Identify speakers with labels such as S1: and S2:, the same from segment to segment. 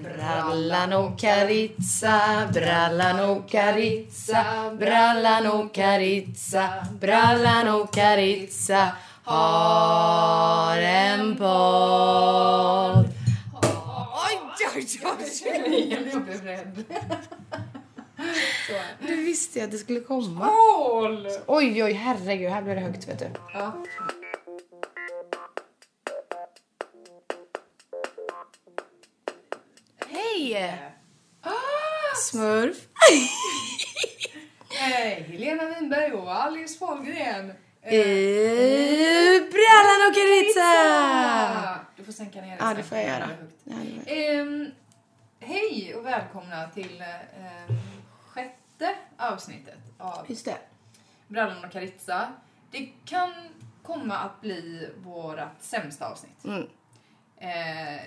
S1: Brallan och Karitza, brallan och Karitza, brallan och Karitza, brallan och Karitza har en podd. Oj, oj, oj!
S2: Jag blev rädd.
S1: Nu visste jag att det skulle komma.
S2: Hål!
S1: Oj, oj, herregud. Här blir det högt, vet du.
S2: Ja.
S1: Hej!
S2: Ah,
S1: Smurf.
S2: hej, Helena Winberg och Alice Wahlgren. Eh,
S1: I brallan och Karitza!
S2: Pizza! Du får sänka ner
S1: Ja, det får jag göra.
S2: Det är högt. Ehm, hej och välkomna till ehm, sjätte avsnittet av
S1: Just det.
S2: Brallan och Karitza. Det kan komma att bli vårat sämsta avsnitt.
S1: Mm.
S2: Eh,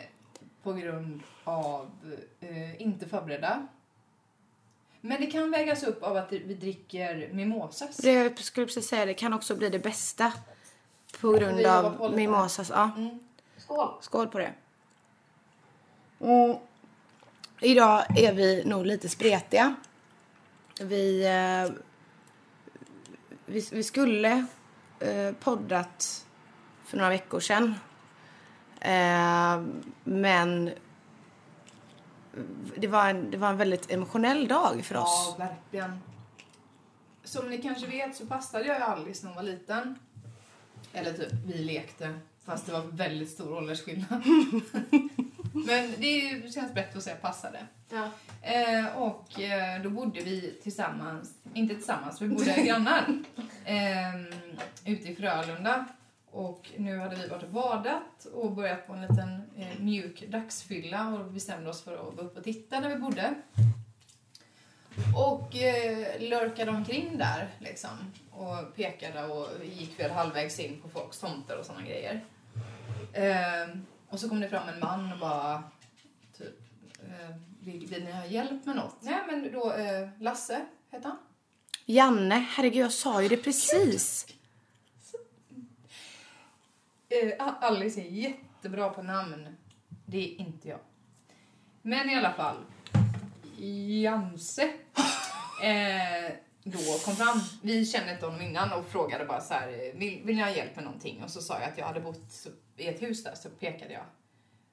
S2: på grund av eh, inte förberedda. Men det kan vägas upp av att vi dricker mimosas.
S1: Det jag skulle precis säga, det kan också bli det bästa. På grund
S2: Vi jobbar på
S1: av
S2: lite.
S1: mimosas. Ja.
S2: Mm. Skål!
S1: Skål på det. Mm. Idag är vi nog lite spretiga. Vi, eh, vi, vi skulle eh, poddat för några veckor sedan. Eh, men det var, en, det var en väldigt emotionell dag för oss.
S2: Ja, verkligen. Som ni kanske vet så passade jag ju Alice när hon var liten. Eller typ, vi lekte. Fast det var väldigt stor åldersskillnad. Men det är ju- känns bättre att säga passade.
S1: Ja.
S2: Eh, och eh, då bodde vi tillsammans, inte tillsammans, vi bodde grannar. Eh, ute i Frölunda. Och nu hade vi varit och badat och börjat på en liten eh, mjuk dagsfylla och bestämde oss för att vara uppe och titta där vi bodde. Och eh, lurkade omkring där liksom. Och pekade och gick väl halvvägs in på folks tomter och sådana grejer. Eh, och så kom det fram en man och bara typ, eh, vill, vill ni ha hjälp med något? Nej men då, eh, Lasse hette han.
S1: Janne, herregud jag sa ju det precis.
S2: Eh, A- Alice är jättebra på namn. Det är inte jag. Men i alla fall. Janse. Eh, då kom fram. Vi kände inte honom innan och frågade bara så här. eh, Vill, vill ni ha hjälp med någonting? Och så sa jag att jag hade bott i ett hus där så pekade jag.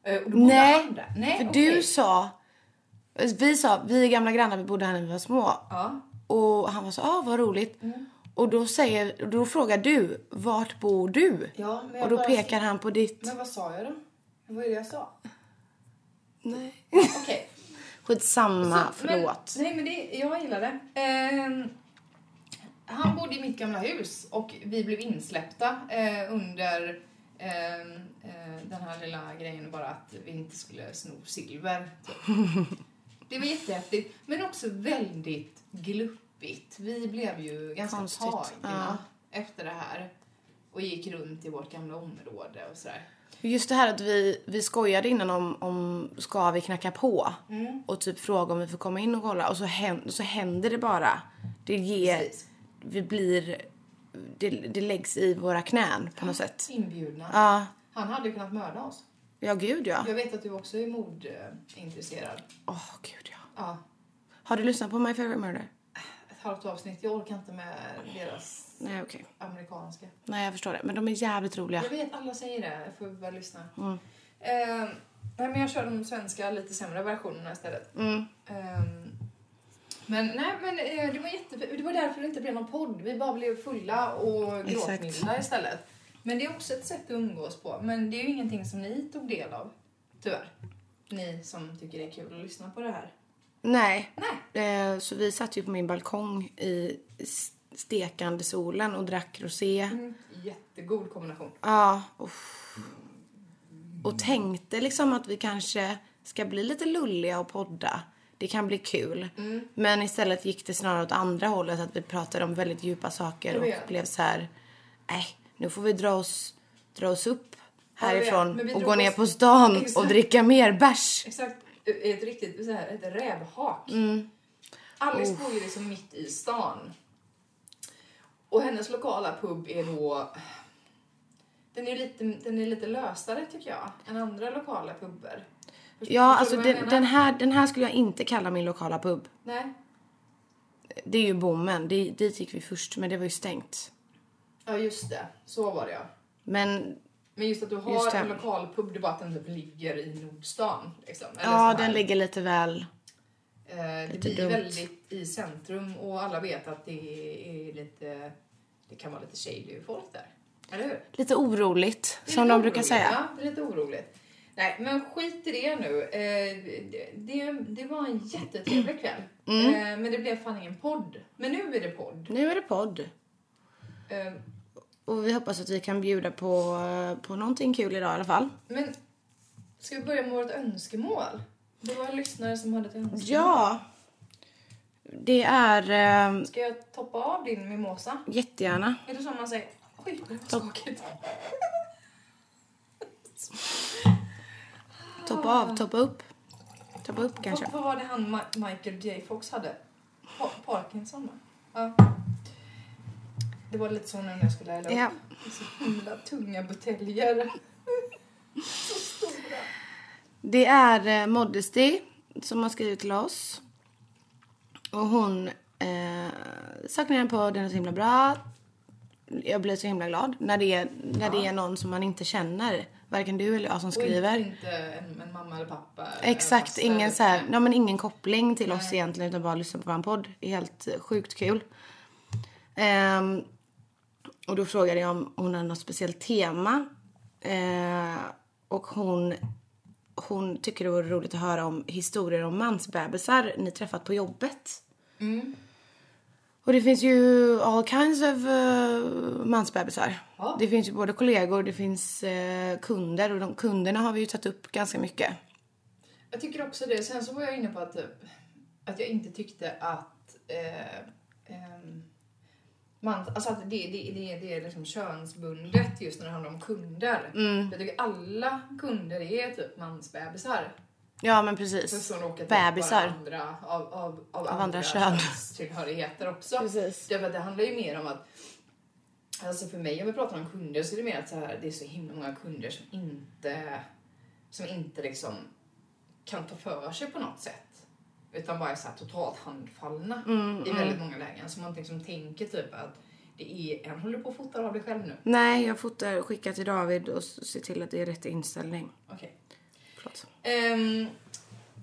S2: Eh, och då bodde
S1: Nej,
S2: han där. Nej,
S1: För
S2: okej.
S1: du sa, vi sa, vi är gamla grannar, vi bodde här när vi var små.
S2: Ja.
S1: Och han var så, ah, vad roligt.
S2: Mm.
S1: Och då, säger, då frågar du, vart bor du?
S2: ja men jag
S1: Och då
S2: bara-
S1: pekar han på ditt.
S2: Men vad sa jag då? Vad var det jag sa?
S1: Nej.
S2: Okej.
S1: Skitsamma,
S2: Så,
S1: förlåt.
S2: Alltså, Men, nej, men det, jag gillar det. Ehm, han bodde i mitt gamla hus och vi blev insläppta eh, under ehm, eh, den här lilla grejen bara att vi inte skulle sno silver. Typ. Det var jättehäftigt, men också väldigt gluppigt. Vi blev ju ganska
S1: Konstigt,
S2: tagna efter det här och gick runt i vårt gamla område och sådär.
S1: Just det här att vi, vi skojade innan om, om ska vi knacka på?
S2: Mm.
S1: Och typ fråga om vi får komma in och kolla. Och så händer, så händer det bara. Det ger,
S2: Precis.
S1: vi blir, det, det läggs i våra knän på något sätt.
S2: Inbjudna.
S1: Ja,
S2: Han hade ju kunnat mörda oss.
S1: ja gud ja.
S2: Jag vet att du också är mordintresserad.
S1: Åh gud ja.
S2: Ja,
S1: Har du lyssnat på My Favorite Murder?
S2: ett halvt avsnitt. Jag orkar inte med deras
S1: Nej okej.
S2: amerikanska.
S1: Nej jag förstår det. Men de är jävligt roliga.
S2: Jag vet, alla säger det. Jag får väl lyssna.
S1: Mm.
S2: Eh, nej, men jag kör de svenska lite sämre versionerna istället.
S1: Mm.
S2: Ehm, men nej, men eh, det var jättefint. Det var därför det inte blev någon podd. Vi bara blev fulla och
S1: Exakt.
S2: gråtmilda istället. Men det är också ett sätt att umgås på. Men det är ju ingenting som ni tog del av. Tyvärr. Ni som tycker det är kul att lyssna på det här.
S1: Nej.
S2: Nej.
S1: Eh, så vi satt ju på min balkong i s- stekande solen och drack rosé.
S2: Mm. Jättegod kombination.
S1: Ja. uff. Och tänkte liksom att vi kanske ska bli lite lulliga och podda. Det kan bli kul.
S2: Mm.
S1: Men istället gick det snarare åt andra hållet. Att vi pratade om väldigt djupa saker
S2: Jag
S1: och
S2: vet.
S1: blev så här. Nej, nu får vi dra oss, dra oss upp
S2: jag vet. Men
S1: härifrån
S2: vi
S1: och
S2: drog
S1: gå ner
S2: oss-
S1: på stan och
S2: Exakt.
S1: dricka mer bärs.
S2: Exakt. Ett riktigt så här, ett rävhak.
S1: Mm.
S2: Alice bor ju liksom mitt i stan. Och hennes lokala pub är då... Den är lite, den är lite lösare tycker jag än andra lokala pubber. Förstår
S1: Ja,
S2: du
S1: alltså
S2: vad jag
S1: den,
S2: menar?
S1: den, här, den här skulle jag inte kalla min lokala pub.
S2: Nej.
S1: Det är ju bommen. Det, dit gick vi först, men det var ju stängt.
S2: Ja, just det. Så var det ja.
S1: Men
S2: Men just att du har
S1: Just det.
S2: en lokalpub, det är bara att den typ ligger i Nordstan. Liksom. Eller så
S1: ja,
S2: här.
S1: den ligger lite väl...
S2: Eh, det
S1: Lite
S2: blir
S1: dumt.
S2: väldigt i centrum och alla vet att det är lite, det kan vara lite shady folk där. Eller hur?
S1: Lite oroligt,
S2: Det är
S1: som
S2: lite
S1: de brukar
S2: oroligt.
S1: säga.
S2: Ja, det är lite oroligt. Nej, men skit i det nu. Eh, det- det, det var en jättetrevlig kväll.
S1: Mm.
S2: Eh, men det blev fan ingen podd. Men nu är det podd.
S1: Nu är det podd.
S2: Eh,
S1: Och vi hoppas att vi kan bjuda på, på någonting kul idag i alla fall.
S2: men ska vi börja med vårt önskemål? Det var en lyssnare som hade ett önskemål.
S1: Ja. Det är eh,
S2: Ska jag toppa av din mimosa?
S1: jättegärna.
S2: Är det så man säger? Oj, det var skakigt.
S1: Toppa av, toppa upp. Toppa upp kanske.
S2: Vad, vad var det han Ma- Michael J Fox hade? Pa- Parkinson va? Ja. Det var lite så nu när jag skulle hälla upp.
S1: Ja.
S2: Så himla tunga buteljer.
S1: Det är eh, Modesty som har skrivit till oss. Och hon eh, saknar en podd, den är så himla bra. Jag blir så himla glad när det är, när det är någon som man inte känner. Varken du eller jag som
S2: Och
S1: skriver.
S2: inte en, en mamma eller pappa. eller
S1: Exakt,
S2: faster.
S1: ingen, så här, ja, men ingen koppling till oss egentligen utan bara lyssna på vår podd. Det är helt eh, sjukt kul. Ehm, och då frågade jag om hon hade något speciellt tema. Eh, och hon, hon tycker det vore roligt att höra om historier om mansbebisar ni träffat på jobbet.
S2: Mm.
S1: Och det finns ju all kinds of eh, mansbebisar.
S2: Ja.
S1: Det finns ju både kollegor, det finns eh, kunder och de kunderna har vi ju tagit upp ganska mycket.
S2: Jag tycker också det. Sen så var jag inne på att, typ, att jag inte tyckte att eh, ehm, man, alltså att det, det, det, det är liksom könsbundet just när det handlar om kunder.
S1: Mm.
S2: Jag tycker alla kunder är typ mansbebisar.
S1: Ja men
S2: Sen
S1: precis.
S2: så råkar
S1: Bebisar.
S2: typ vara andra, av, av, av,
S1: andra kön.
S2: könstillhörigheter också.
S1: Precis.
S2: Därför att det handlar ju mer om att Alltså för mig om vi pratar om kunder så är det mer att så här, det är så himla många kunder som inte som inte liksom kan ta för sig på något sätt. Utan bara är så här totalt handfallna
S1: Mm,
S2: i väldigt många lägen. Så man liksom tänker typ att det är en håller på och fotar av dig själv nu.
S1: Nej jag fotar, skickar till David och s- ser till att det är rätt inställning.
S2: Okej.
S1: Förlåt.
S2: Ehm,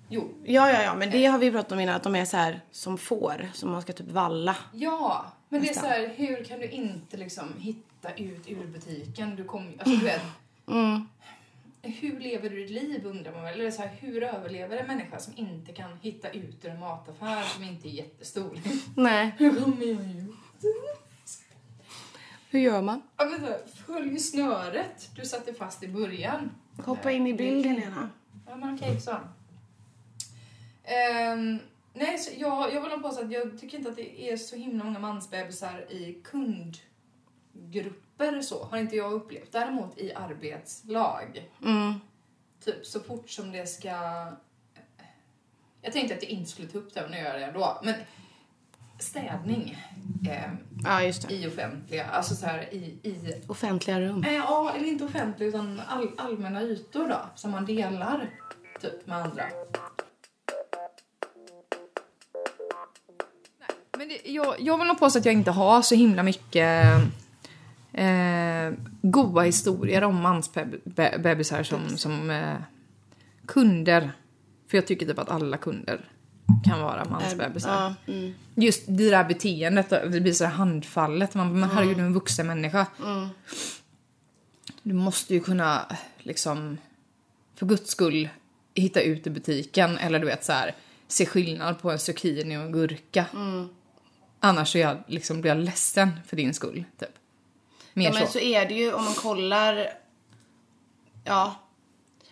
S2: jo,
S1: Ja ja ja men det har vi pratat om innan att de är så här som får som man ska typ valla.
S2: Ja, men det är
S1: Nästan.
S2: så här, hur kan du inte liksom hitta ut ur butiken? Du kommer alltså du vet,
S1: Mm.
S2: hur lever du ditt liv undrar man väl? Eller så här, hur överlever en människa som inte kan hitta ut ur en mataffär som inte är jättestor?
S1: Nej.
S2: hur kommer jag ut?
S1: Hur gör man?
S2: Ja, men så här, följ snöret du satte fast i början.
S1: Hoppa in i bilden Lena.
S2: Ja, men okej, så. Ehm, nej, så jag, jag vill nog påstå att jag tycker inte att det är så himla många mansbebisar i kundgrupper så. Har inte jag upplevt. Däremot i arbetslag.
S1: Mm.
S2: Typ så fort som det ska... Jag tänkte att jag inte skulle ta upp det, men nu gör jag det ändå. Men städning ehm,
S1: Ja just det.
S2: i offentliga, alltså så här i, i
S1: Offentliga rum.
S2: Eh, Ja, eller inte offentlig utan all, allmänna ytor då, som man delar typ med andra. Men det, jag, jag vill nog påstå att jag inte har så himla mycket eh, goda historier om mansbebisar som, som eh, kunder. För jag tycker typ att alla kunder kan vara mansbebisar.
S1: Ja. Mm.
S2: Just det där beteendet, då, det blir så här handfallet. Man bara, men herregud du är en vuxen människa.
S1: Mm.
S2: Du måste ju kunna liksom, för guds skull, hitta ut i butiken. Eller du vet så här, se skillnad på en zucchini och en gurka.
S1: Mm.
S2: Annars så är jag, liksom, blir jag ledsen för din skull. Typ. Mer
S1: ja men
S2: så.
S1: så är det ju om man kollar. Ja.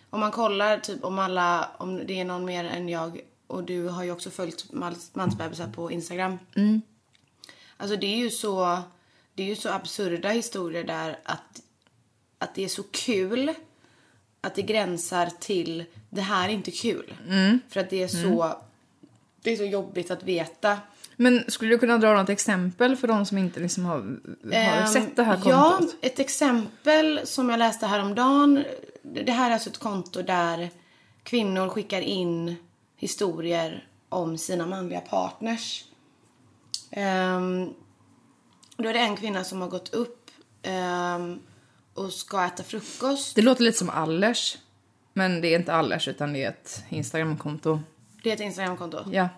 S1: Om man kollar typ om alla, om det är någon mer än jag och du har ju också följt mans- mansbebisar på Instagram.
S2: Mm.
S1: Alltså det är ju så, det är ju så absurda historier där att, att det är så kul att det gränsar till det här är inte kul.
S2: Mm.
S1: För att det är så, det är så jobbigt att veta.
S2: Men skulle du kunna dra något exempel för de som inte liksom har, har
S1: Ehm,
S2: sett det här kontot?
S1: Ja, ett exempel som jag läste häromdagen. Det här är alltså ett konto där kvinnor skickar in historier om sina manliga partners. Ehm, då är det en kvinna som har gått upp ehm, och ska äta frukost.
S2: Det låter lite som Allers. Men det är inte Allers utan det är ett Instagramkonto.
S1: Det är ett Instagramkonto.
S2: Ja.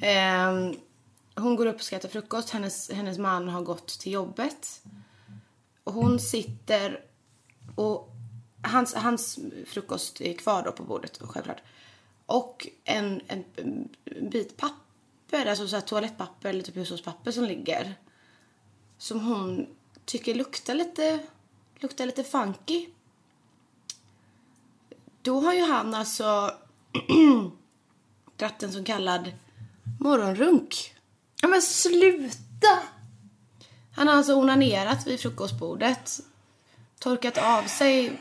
S1: Ehm, hon går upp och ska äta frukost. Hennes, hennes man har gått till jobbet. Och hon sitter och hans, hans frukost är kvar då på bordet självklart. Och en, en, en bit papper, alltså så här toalettpapper eller typ hushållspapper som ligger. Som hon tycker luktar lite, luktar lite funky. Då har ju han alltså dratt en så kallad morgonrunk.
S2: Ja men sluta!
S1: Han har alltså onanerat vid frukostbordet, torkat av sig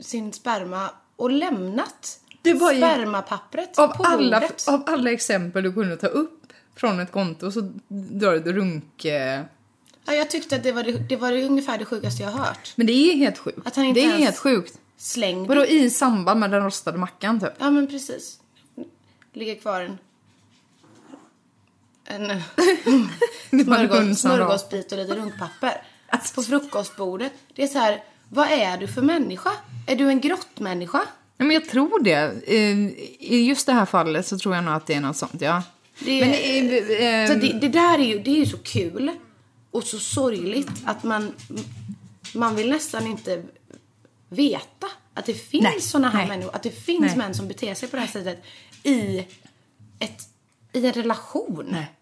S1: sin sperma och lämnat
S2: Det var ju-
S1: spermapappret
S2: Av
S1: på
S2: alla,
S1: bordet.
S2: av alla exempel du kunde ta upp från ett konto så drar du ett runk... eh,
S1: Ja, jag tyckte att det var, det, det var det ungefär det sjukaste jag har hört.
S2: Men det är helt sjukt.
S1: Att han inte
S2: det är
S1: ens-
S2: helt sjukt.
S1: Släng
S2: Vadå i samband med den rostade mackan typ?
S1: Ja, men precis. Ligger kvar en... En
S2: Det är bara
S1: smörgås,
S2: hunsarna.
S1: smörgåsbit och lite runkpapper.
S2: Alltså.
S1: På frukostbordet. Det är så här, vad är du för människa? Är du en grottmänniska?
S2: Ja, men jag tror det. Eh, I just det här fallet så tror jag nog att det är något sånt, ja.
S1: Det-
S2: Men, eh, eh,
S1: Så det, det där är ju, det är ju så kul och så sorgligt att man, man vill nästan inte veta att det
S2: Nej,
S1: finns såna här
S2: nej.
S1: människor, att det finns
S2: Nej.
S1: män som beter sig på det här sättet i, ett, i en relation.
S2: Nej.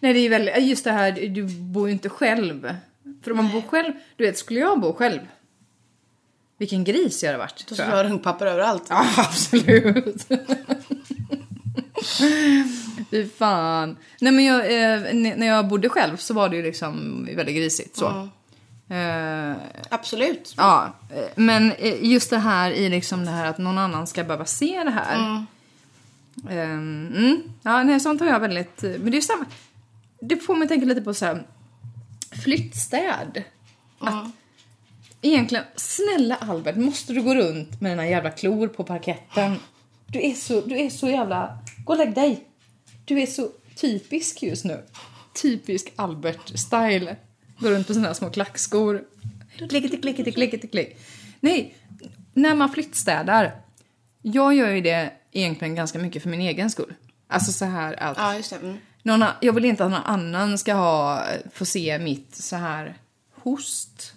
S2: Nej, det är ju väldigt... Just det här, du bor ju inte själv. För om man bor själv... Du vet, skulle jag bo själv... Vilken gris jag hade varit,
S1: Då
S2: tror
S1: skulle
S2: jag.
S1: jag ha runkpapper överallt.
S2: Ja, absolut. Fy fan. Nej, men jag, eh, n- när jag bodde själv så var det ju liksom väldigt grisigt så. Eh,
S1: Absolut.
S2: ja, eh, men eh, just det här i liksom det här att någon annan ska behöva se det här. Ehm, mm. Ja, nej, sånt har jag väldigt... eh, Men det är ju samma... Det får mig att tänka lite på så här flyttstäd.
S1: Mm.
S2: Egentligen, snälla Albert, måste du gå runt med dina jävla klor på parketten? Du är så, du är så jävla... Gå och lägg dig! Du är så typisk just nu. Typisk Albert-style. Gå runt på sina små klackskor. Klickety, klickety, klickety, klick. Nej, när man flyttstädar. Jag gör ju det egentligen ganska mycket för min egen skull. Alltså så här att...
S1: Ja, just det. Mm.
S2: Någon, a- jag vill inte att någon annan ska ha, få se mitt så här host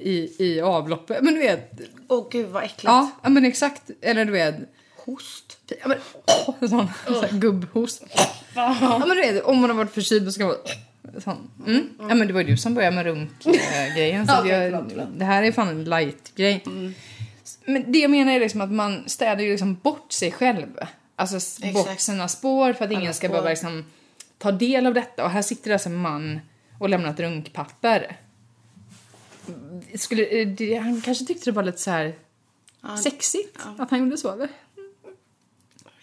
S2: i, i avloppet. Men du vet,
S1: Åh gud vad äckligt.
S2: ja, ja, men exakt. Eller du vet,
S1: Host.
S2: ja, men, åh, sån, så här gubbhost. Ja, men du vet, om man har varit förkyld så ska man sån. Mm. Ja, men det var ju du som började med runkgrejen. Så
S1: Ja,
S2: att jag,
S1: förlåt, förlåt.
S2: det här är Mm. fan en light-grej. Men det jag menar är liksom att man städar ju liksom bort sig själv. Alltså s-
S1: Exakt.
S2: bort sina spår för att ingen ska
S1: spår.
S2: behöva liksom ta del av detta. Och här sitter det alltså en man och lämnar ett runkpapper. Skulle, eh, det, han kanske tyckte det var lite så här
S1: Ja.
S2: sexigt att han gjorde så. eller?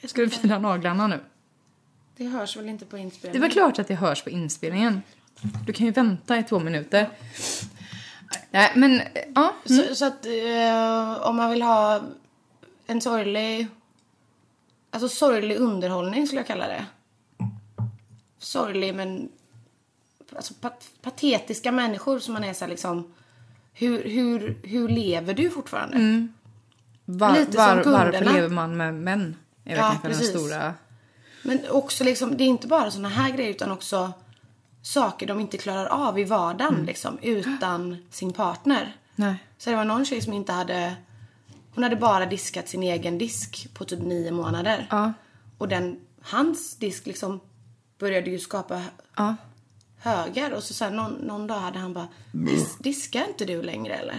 S2: Jag skulle fila naglarna nu.
S1: Det hörs väl inte på
S2: Det
S1: inspelningen?
S2: var klart att det hörs på inspelningen. Du kan ju vänta i två minuter. Nej, men eh, ja.
S1: Så, så att eh, om man vill ha en sorglig... Alltså sorglig underhållning skulle jag kalla det. Sorglig men... Alltså pat, patetiska människor som man är så här liksom... Hur, hur, hur lever du fortfarande?
S2: Mm. Var,
S1: Lite som
S2: var, varför
S1: kunderna.
S2: lever man med män? Är väl
S1: Ja,
S2: kanske
S1: precis.
S2: den stora...
S1: Men också liksom, det är inte bara såna här grejer utan också saker de inte klarar av i vardagen
S2: Mm.
S1: liksom utan sin partner.
S2: Nej.
S1: Så det var någon tjej som inte hade... Hon hade bara diskat sin egen disk på typ nio månader.
S2: Ja.
S1: Och den, hans disk liksom började ju skapa
S2: Ja.
S1: högar. Och så, så här, någon, någon dag hade han bara... "Dis- Diskar inte du längre eller?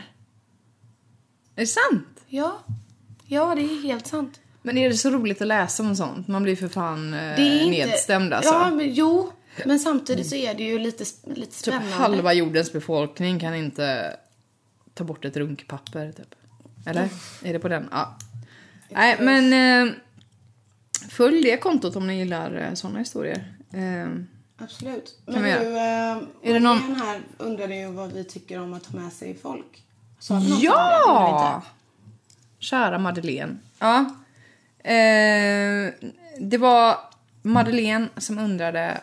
S2: Är det sant?
S1: Ja. Ja, det är helt sant.
S2: Men är det så roligt att läsa om sånt? Man blir för fan eh,
S1: Det är
S2: nedstämd alltså.
S1: Ja, men, jo. Men samtidigt så är det ju lite, sp- lite
S2: typ
S1: spännande.
S2: halva jordens befolkning kan inte ta bort ett runkpapper typ. Eller? Är det på den? Ja. Nej men eh, följ det kontot om ni gillar eh, såna historier. Eh,
S1: Absolut.
S2: Kan
S1: Men
S2: vi
S1: du,
S2: göra?
S1: eh,
S2: Är det någon-
S1: Morgan här undrade ju vad vi tycker om att ta med sig folk. Sa vi något om det? Gjorde vi
S2: Ja!
S1: inte?
S2: Kära Madeleine. Ja. Eh, det var Madeleine som undrade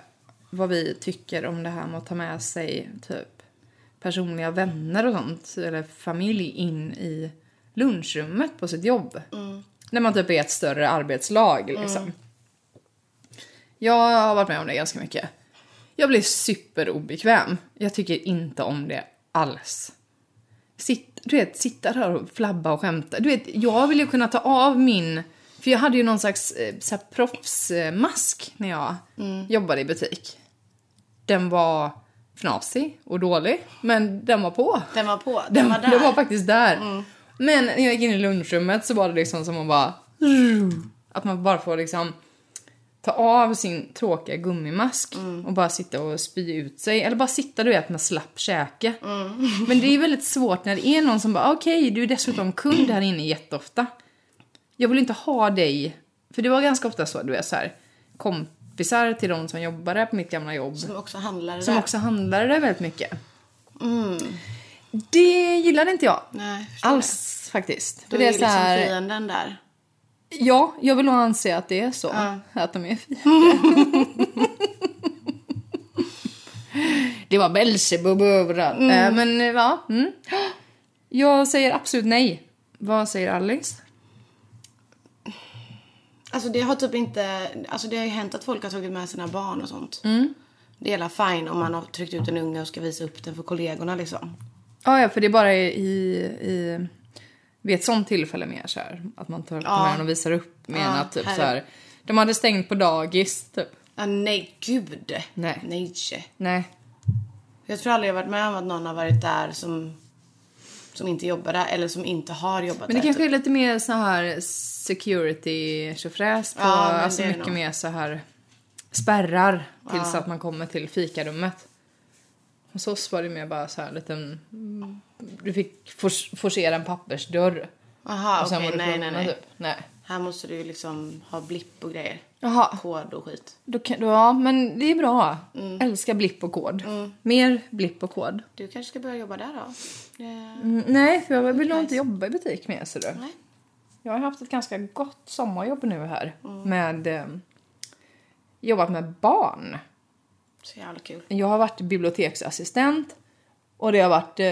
S2: vad vi tycker om det här med att ta med sig typ personliga vänner och sånt, eller familj in i lunchrummet på sitt jobb. När man typ är ett större arbetslag liksom. Jag har varit med om det ganska mycket. Jag blir superobekväm. Jag tycker inte om det alls. Sitt, du vet, sitta där och flabba och skämta. Du vet, jag vill ju kunna ta av min... För jag hade ju någon slags eh, så här, proffsmask när jag jobbade i butik. Den var fnasig och dålig, men den var på.
S1: Den var på. Den, var där. Mm.
S2: Den Mm. var faktiskt där. Men när jag gick in i lunchrummet så var det liksom som att bara... Att man bara får liksom ta av sin tråkiga gummimask
S1: Mm.
S2: och bara sitta och spy ut sig. Eller bara sitta du vet med slapp käke.
S1: Mm.
S2: Men det är väldigt svårt när det är någon som bara okej du är dessutom kund här inne jätteofta. Jag vill inte ha dig. För det var ganska ofta så du är så här kompisar till de som jobbade på mitt gamla jobb.
S1: Som också handlade
S2: Som
S1: där.
S2: också handlade där väldigt mycket.
S1: Mm.
S2: Det gillade inte jag.
S1: Nej, jag förstår det.
S2: Alls faktiskt. För
S1: Då
S2: det är
S1: ju
S2: så här,
S1: liksom fienden där.
S2: Ja, jag vill nog anse att det är så. Att de är fiender. det var Belsebub överallt. Eh, Men eh, ja. Mm. Jag säger absolut nej. Vad säger Alice?
S1: Alltså det har typ inte, alltså det har ju hänt att folk har tagit med sina barn och sånt. Det är hela fine om man har tryckt ut en unge och ska visa upp den för kollegorna liksom.
S2: Ah, ja, för det är bara i, i vid ett sånt tillfälle mer så här. Att man tar ja. med den och visar upp med en
S1: Ja,
S2: att typ
S1: här-
S2: så här. De hade stängt på dagis typ.
S1: Ah, nej, gud.
S2: Nej.
S1: Nej.
S2: Nej.
S1: Jag tror aldrig jag varit med om att någon har varit där som, som inte jobbar där eller som inte har jobbat
S2: Men det
S1: där.
S2: kanske är lite mer så här security tjofräs på,
S1: Ja, men det
S2: alltså
S1: är det
S2: mycket
S1: nog.
S2: mer så här spärrar tills att man kommer till fikarummet. Hos oss var det mer bara så här liten, du fick for, forcera en pappersdörr.
S1: typ. Aha, okej,
S2: var du
S1: nej, nej,
S2: tvungen
S1: nej.
S2: Typ. nej.
S1: Här måste du ju liksom ha blipp och grejer.
S2: Jaha,
S1: Kod och skit.
S2: då kan, då, ja men det är bra. Älskar blipp och kod. Mer blipp och kod.
S1: Du kanske ska börja jobba där då? Det...
S2: Mm, nej, för jag vill nog inte jobba i butik mer ser du.
S1: Nej.
S2: Jag har haft ett ganska gott sommarjobb nu här. Med, eh, jobbat med barn.
S1: Så jävla kul.
S2: Jag har varit biblioteksassistent. Och det har varit eh,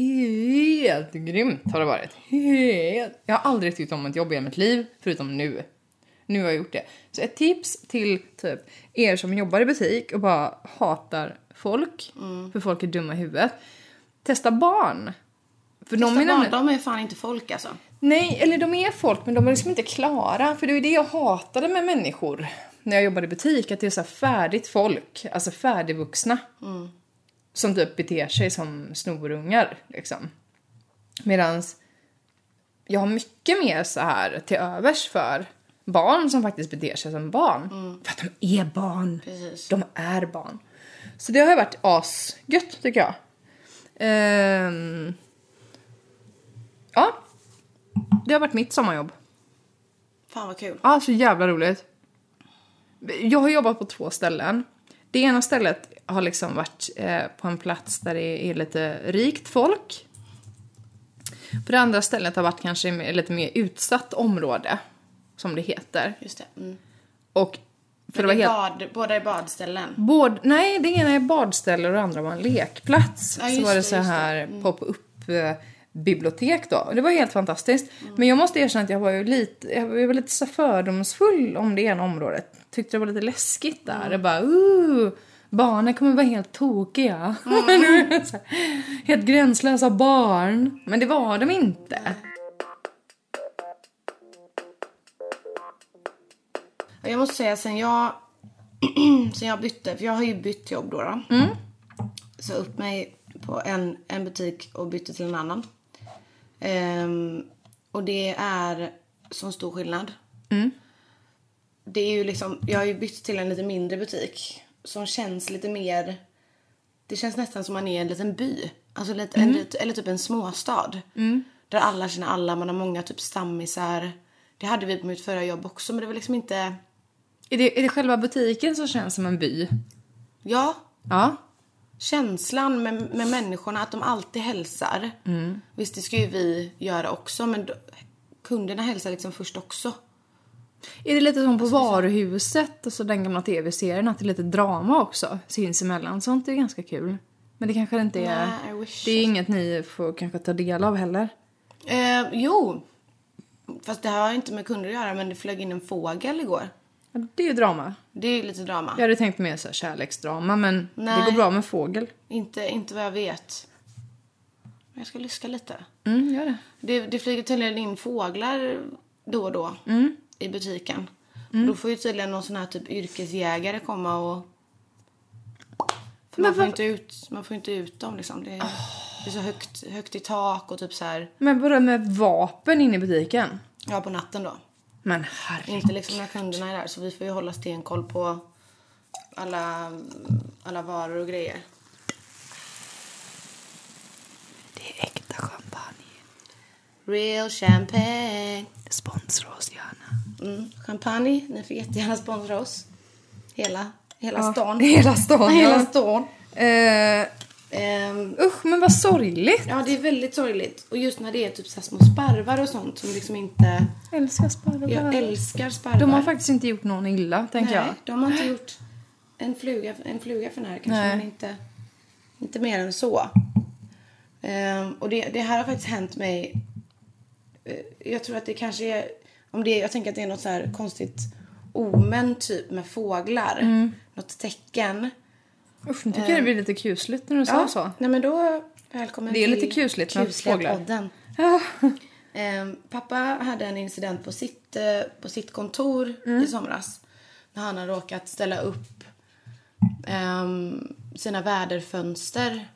S2: helt grymt. Har det varit. Helt. Jag har aldrig tyckt om ett jobb i hela mitt liv, förutom nu. Nu har jag gjort det. Så ett tips till typ er som jobbar i butik och bara hatar folk, för folk är dumma i huvudet. Testa barn. För de
S1: De
S2: är
S1: är,
S2: nämligen-
S1: barn, de är fan inte folk alltså.
S2: Nej, eller de är folk men de är liksom inte klara. För det är ju det jag hatade med människor när jag jobbade i butik. Att det är så här färdigt folk, alltså färdigvuxna. Som typ beter sig som snorungar liksom. Medans jag har mycket mer så här till övers för barn som faktiskt beter sig som barn. För att de är barn.
S1: Precis.
S2: De är barn. Så det har ju varit asgött tycker jag. Ehm. Ja. Det har varit mitt sommarjobb.
S1: Fan vad kul.
S2: Ja, så jävla roligt. Jag har jobbat på två ställen. Det ena stället har liksom varit eh, på en plats där det är lite rikt folk. På det andra stället har varit kanske mer- lite mer utsatt område, som det heter.
S1: Just det. Mm.
S2: Och för det var
S1: Det är
S2: helt...
S1: bad, båda är badställen.
S2: Både, nej, det ena är badställe och det andra var en lekplats.
S1: Ja,
S2: så
S1: just
S2: var det
S1: det,
S2: så
S1: just det.
S2: här pop-up eh, bibliotek då. Och Det var helt fantastiskt. Men jag måste erkänna att jag var ju lite, jag var jag var lite så fördomsfull om det ena området. Tyckte det var lite läskigt där. Det bara uh, barnen kommer vara helt tokiga. Mm. helt gränslösa barn. Men det var de inte.
S1: Ja, Jag måste säga sen jag, sen jag bytte, för jag har ju bytt jobb då. då. Så upp mig på en, en butik och bytte till en annan. Ehm, och det är sån stor skillnad. Det är ju liksom, jag har ju bytt till en lite mindre butik som känns lite mer, det känns nästan som man är i en liten by. Alltså lite, en, lit- eller typ en småstad. Där alla känner alla, man har många typ stammisar. Det hade vi på mitt förra jobb också men det var liksom inte,
S2: Är det, är det själva butiken som känns som en by?
S1: Ja,
S2: Ja.
S1: känslan med, med människorna, att de alltid hälsar. Visst, det ska ju vi göra också, men då, kunderna hälsar liksom först också.
S2: Är det lite som på varuhuset, alltså den gamla tv-serien, att det är lite drama också sinsemellan? Sånt är ganska kul. Men det kanske inte är...
S1: Nej, I wish.
S2: det är inget ni får kanske ta del av heller.
S1: Eh, jo. Fast det här har inte med kunder att göra men det flög in en fågel igår.
S2: Ja, Det är ju drama.
S1: Det är ju lite drama.
S2: Jag hade tänkt mer så här kärleksdrama, men det
S1: Nej.
S2: går bra med fågel.
S1: Inte, inte vad jag vet. Men jag ska lyssna lite.
S2: Mm, gör det.
S1: Det, det flyger tydligen in fåglar då och då
S2: Mm.
S1: i butiken. Och då får ju tydligen någon sån här typ yrkesjägare komma och... För man, får inte ut, man får inte ut dem liksom. Det är, det är så högt, högt i tak och typ så här...
S2: Men bara med vapen inne i butiken?
S1: Ja, på natten då.
S2: Men herregud.
S1: Inte liksom när kunderna är där. Så vi får ju hålla stenkoll på alla, alla varor och grejer.
S2: Det är äkta champagne.
S1: Real champagne.
S2: Sponsra oss gärna.
S1: Mm. Champagne, ni får jättegärna sponsra oss. Hela, hela stan.
S2: Hela stan,
S1: Hela
S2: ja.
S1: stan.
S2: Eh,
S1: Ehm,
S2: usch, men vad sorgligt.
S1: ja, det är väldigt sorgligt. Och just när det är typ så här små sparvar och sånt som liksom inte...
S2: Jag älskar sparvar.
S1: Jag älskar sparvar.
S2: De har faktiskt inte gjort någon illa, tänker jag.
S1: Nej, de har inte gjort en fluga, en fluga för när kanske,
S2: Nej.
S1: men inte, inte mer än så. Ehm, och det, det här har faktiskt hänt mig. eh, jag tror att det kanske är, om det, är- jag tänker att det är något så här konstigt omen typ med fåglar.
S2: Mm.
S1: Något tecken.
S2: Usch, nu tycker jag det blir lite kusligt när du sa så.
S1: Nej men då, välkommen
S2: Det är
S1: till
S2: lite kusligt med fåglar.
S1: podden.
S2: Ja.
S1: Ehm, pappa hade en incident på sitt, eh, på sitt kontor
S2: Mm.
S1: i somras. När han hade råkat ställa upp ehm, sina väderfönster.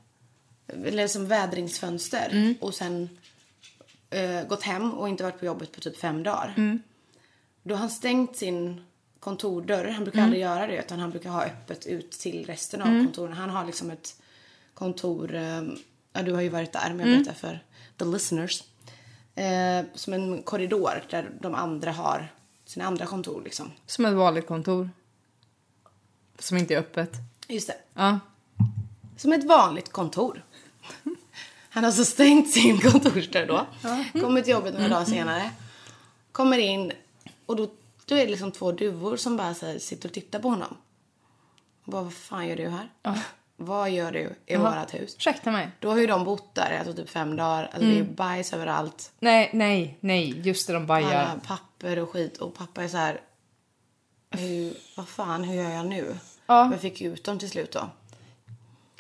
S1: Eller som vädringsfönster.
S2: Mm.
S1: Och sen eh, gått hem och inte varit på jobbet på typ fem dagar.
S2: Mm.
S1: Då har han stängt sin kontordörr. Han brukar aldrig göra det utan han brukar ha öppet ut till resten av kontoren. Han har liksom ett kontor, eh, ja du har ju varit där men jag berättar för the listeners. Eh, som en korridor där de andra har sina andra kontor liksom.
S2: Som ett vanligt kontor. Som inte är öppet.
S1: Just det.
S2: Ja.
S1: Som ett vanligt kontor. Han har så stängt sin kontorsdörr då. Kommer till jobbet några dagar senare. Kommer in och då, då är det liksom två duvor som bara så här, sitter och tittar på honom. Och bara, vad fan gör du här? Vad gör du i vårat hus?
S2: Ursäkta mig.
S1: Då har ju de bott där alltså typ fem dagar. Alltså det är ju bajs överallt.
S2: Nej, nej, nej. Just det, de
S1: Alla
S2: bajar.
S1: papper och skit. Och pappa är så här... Hur, vad fan, hur gör jag nu?
S2: Ja.
S1: Men fick ju ut dem till slut då.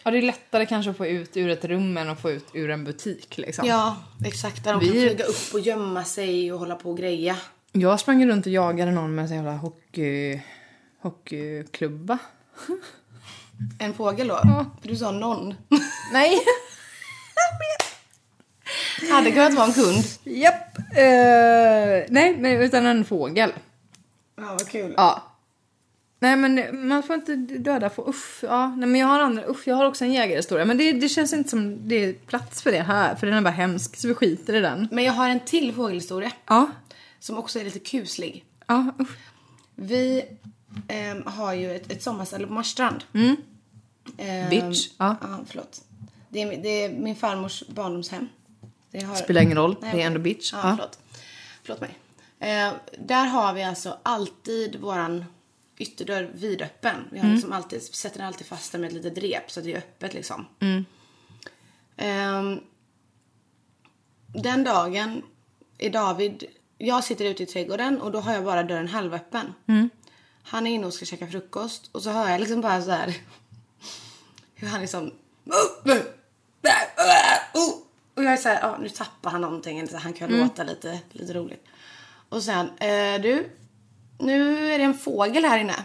S2: Ja, det är lättare kanske att få ut ur ett rum än att få ut ur en butik liksom.
S1: Ja, exakt. Där de kan
S2: Vi-
S1: flyga upp och gömma sig och hålla på och greja.
S2: Jag sprang runt och jagade någon med en sån jävla hockey... hockeyklubba.
S1: En fågel då? För du sa någon.
S2: Nej!
S1: Hade kunnat vara en kund.
S2: Japp! Eh, nej, nej, utan en fågel.
S1: Ja, vad kul.
S2: Ja. Nej men man får inte döda få usch. Ja, nej, men jag har andra, usch jag har också en jägarhistoria men det, det känns inte som det är plats för det här för den är bara hemsk så vi skiter i den.
S1: Men jag har en till fågelhistoria
S2: Ja.
S1: som också är lite kuslig.
S2: Ja usch.
S1: Vi ehm, har ju ett, ett sommarställe på Marstrand. Ehm,
S2: Mm. Bitch. Ja.
S1: Ja, förlåt. Det är, min- det är min farmors barndomshem. Det har...
S2: Spelar ingen roll,
S1: Nej,
S2: det är
S1: okej.
S2: ändå bitch.
S1: Ja,
S2: Ja.
S1: Förlåt. förlåt mig. Eh, där har vi alltså alltid våran ytterdörr vidöppen. Vi har
S2: Mm.
S1: liksom alltid, sätter den alltid fast den med ett litet rep så att det är öppet liksom.
S2: Mm.
S1: Ehm, den dagen är David, jag sitter ute i trädgården och då har jag bara dörren halvöppen.
S2: Mm.
S1: Han är inne och ska käka frukost och så hör jag liksom bara så här hur han liksom och jag är såhär, ja nu tappar han någonting. eller så här, Han kan låta lite, lite roligt. Och sen, eh, du. Nu är det en fågel här inne.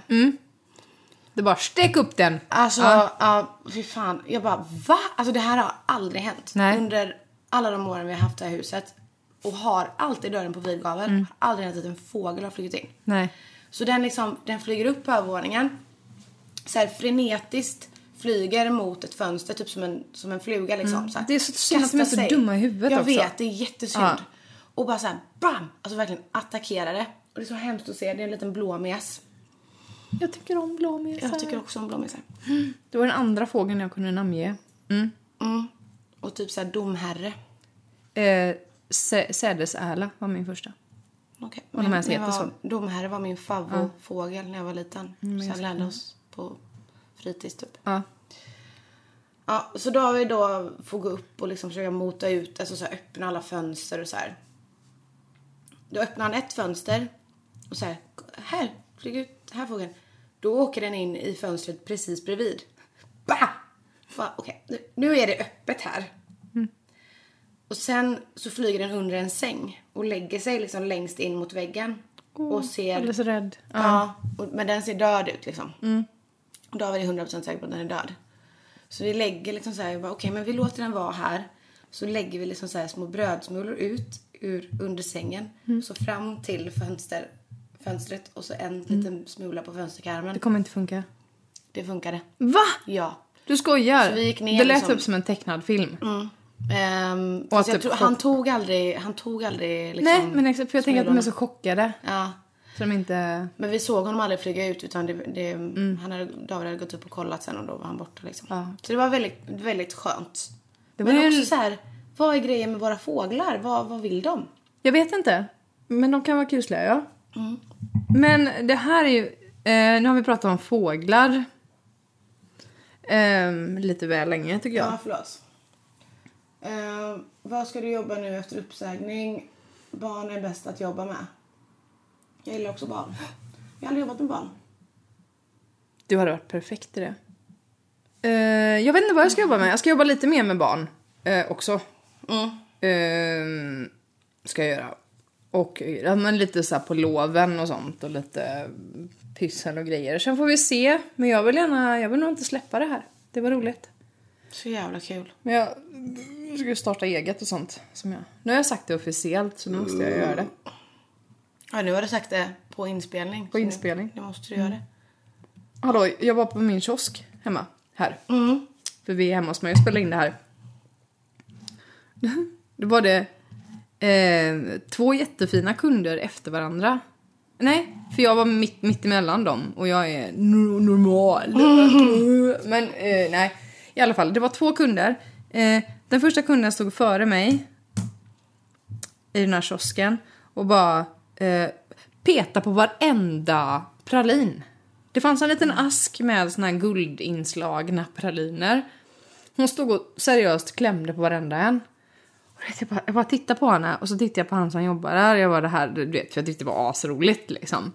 S2: Det är bara stek upp den.
S1: Alltså, ja, fy fan. Jag bara, va? Alltså det här har aldrig hänt.
S2: Nej.
S1: Under alla de åren vi har haft det här huset. Och har alltid dörren på vid gavel. Har aldrig hänt att en fågel har flugit in.
S2: Nej.
S1: Så den, liksom, den flyger upp på övervåningen. Så här frenetiskt flyger mot ett fönster, typ som en, som en fluga. Liksom, så här.
S2: Mm. Det är så synd att de är
S1: Kastar
S2: så
S1: sig.
S2: dumma i huvudet
S1: Jag
S2: också.
S1: vet, det är jättesynd.
S2: Ja.
S1: Och bara så här, bam! Alltså verkligen attackerar det. Och det är så hemskt att se, det är en liten blåmes.
S2: Jag tycker om blåmesar.
S1: Jag tycker också om blåmesar.
S2: Det var den andra fågeln jag kunde namnge. Mm.
S1: Mm. Och typ så här domherre.
S2: Eh, Sä- Sädesärla var min första.
S1: Okej.
S2: Och de här som
S1: det
S2: heter
S1: var, de här var min favoritfågel när jag var liten.
S2: Mm,
S1: så jag lärde oss på fritids typ.
S2: Ja.
S1: Ja, så då har vi då får gå upp och liksom försöka mota ut, alltså så här, öppna alla fönster och så här. Då öppnar han ett fönster och så här, här, flyg ut här fågeln. Då åker den in i fönstret precis bredvid. Bah! Va, okej, nu, nu är det öppet här. Och sen så flyger den under en säng och lägger sig liksom längst in mot väggen. och ser...
S2: Alldeles rädd.
S1: Ja, och, men den ser död ut liksom.
S2: Mm.
S1: Och då var vi 100% säkra på att den är död. Så vi lägger liksom så här, vi bara, okej men vi låter den vara här. Så lägger vi liksom så här små brödsmulor ut ur, under sängen.
S2: Mm.
S1: Så fram till fönster, fönstret och så en
S2: Mm.
S1: liten smula på
S2: Det
S1: fönsterkarmen.
S2: kommer inte funka.
S1: Det funkade.
S2: Va?
S1: Ja.
S2: Du skojar?
S1: Så vi gick ner
S2: det lät
S1: liksom.
S2: typ som en tecknad film.
S1: Mm. Ehm,
S2: Och
S1: fast
S2: att
S1: jag
S2: typ
S1: tror,
S2: få-
S1: han tog aldrig, han tog aldrig liksom
S2: Nej, men exakt. För jag tänker att de är så chockade.
S1: Ja.
S2: Så de inte...
S1: Men vi såg honom aldrig flyga ut utan det, det, han hade, David hade gått upp och kollat sen och då var han borta liksom.
S2: Mm. Ja.
S1: Så det var väldigt, väldigt skönt.
S2: Det var
S1: men
S2: ju
S1: också
S2: en-
S1: så här, vad är grejen med våra fåglar? Vad, vad vill de?
S2: Jag vet inte. Men de kan vara kusliga, ja. Men det här är ju... Eh, nu har vi pratat om fåglar. Ehm, lite väl länge tycker jag.
S1: förlåt. Eh, vad ska du jobba nu efter uppsägning? Barn är bäst att jobba med. Jag gillar också barn. Jag har aldrig jobbat med barn.
S2: Du hade varit perfekt i det. Eh, jag vet inte vad jag ska jobba med. Jag ska jobba lite mer med barn eh, också.
S1: Mm.
S2: Ehm, ska jag göra. Och ja, men lite så här på loven och sånt och lite pyssel och grejer. Sen får vi se. Men jag vill gärna, jag vill nog inte släppa det här. Det var roligt.
S1: Så jävla kul.
S2: Men jag mm, ska ju starta eget och sånt. Som jag. Nu har jag sagt det officiellt så nu måste jag göra det.
S1: Ja, nu har du sagt det på inspelning.
S2: På
S1: så nu-
S2: inspelning.
S1: Nu måste du göra det.
S2: Hallå, jag var på min kiosk hemma. Här.
S1: Mm.
S2: För vi är hemma hos mig och spelar in det här. Då var det eh, två jättefina kunder efter varandra. Nej, för jag var mitt, mitt emellan dem och jag är nor- normal. Men eh, nej, i alla fall, det var två kunder. Eh, den första kunden stod före mig i den här kiosken och bara eh, peta på varenda pralin. Det fanns en liten ask med såna här guldinslagna praliner. Hon stod och seriöst klämde på varenda en. Och du vet, jag, typ bara, jag bara tittade på henne och så tittade jag på han som jobbar där. Jag var det här, du vet, för jag tyckte det var asroligt liksom.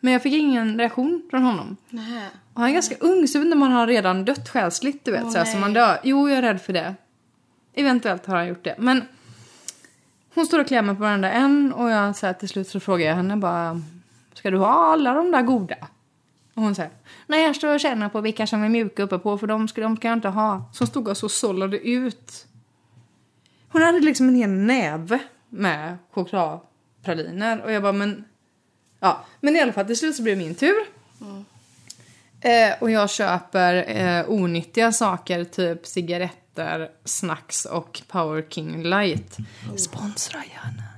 S2: Men jag fick ingen reaktion från honom.
S1: Nej.
S2: Och han är ganska ung, så jag vet inte om han har redan dött själsligt, du vet,
S1: Åh,
S2: så här som
S1: nej.
S2: man dör. Jo, jag är rädd för det. Eventuellt har han gjort det, men hon står och klämmer på varenda en och jag så här, till slut så frågar jag henne bara Ska du ha alla de där goda? Och hon säger Nej, jag står och känner på vilka som är mjuka uppe på för de ska, de ska jag inte ha. Så hon stod och så sållade ut. Hon hade liksom en hel näve med chokladpraliner och jag bara men Ja, men i alla fall till slut så blir det min tur. Eh, och jag köper eh, onyttiga saker, typ cigaretter, snacks och Power King Light. Sponsra gärna.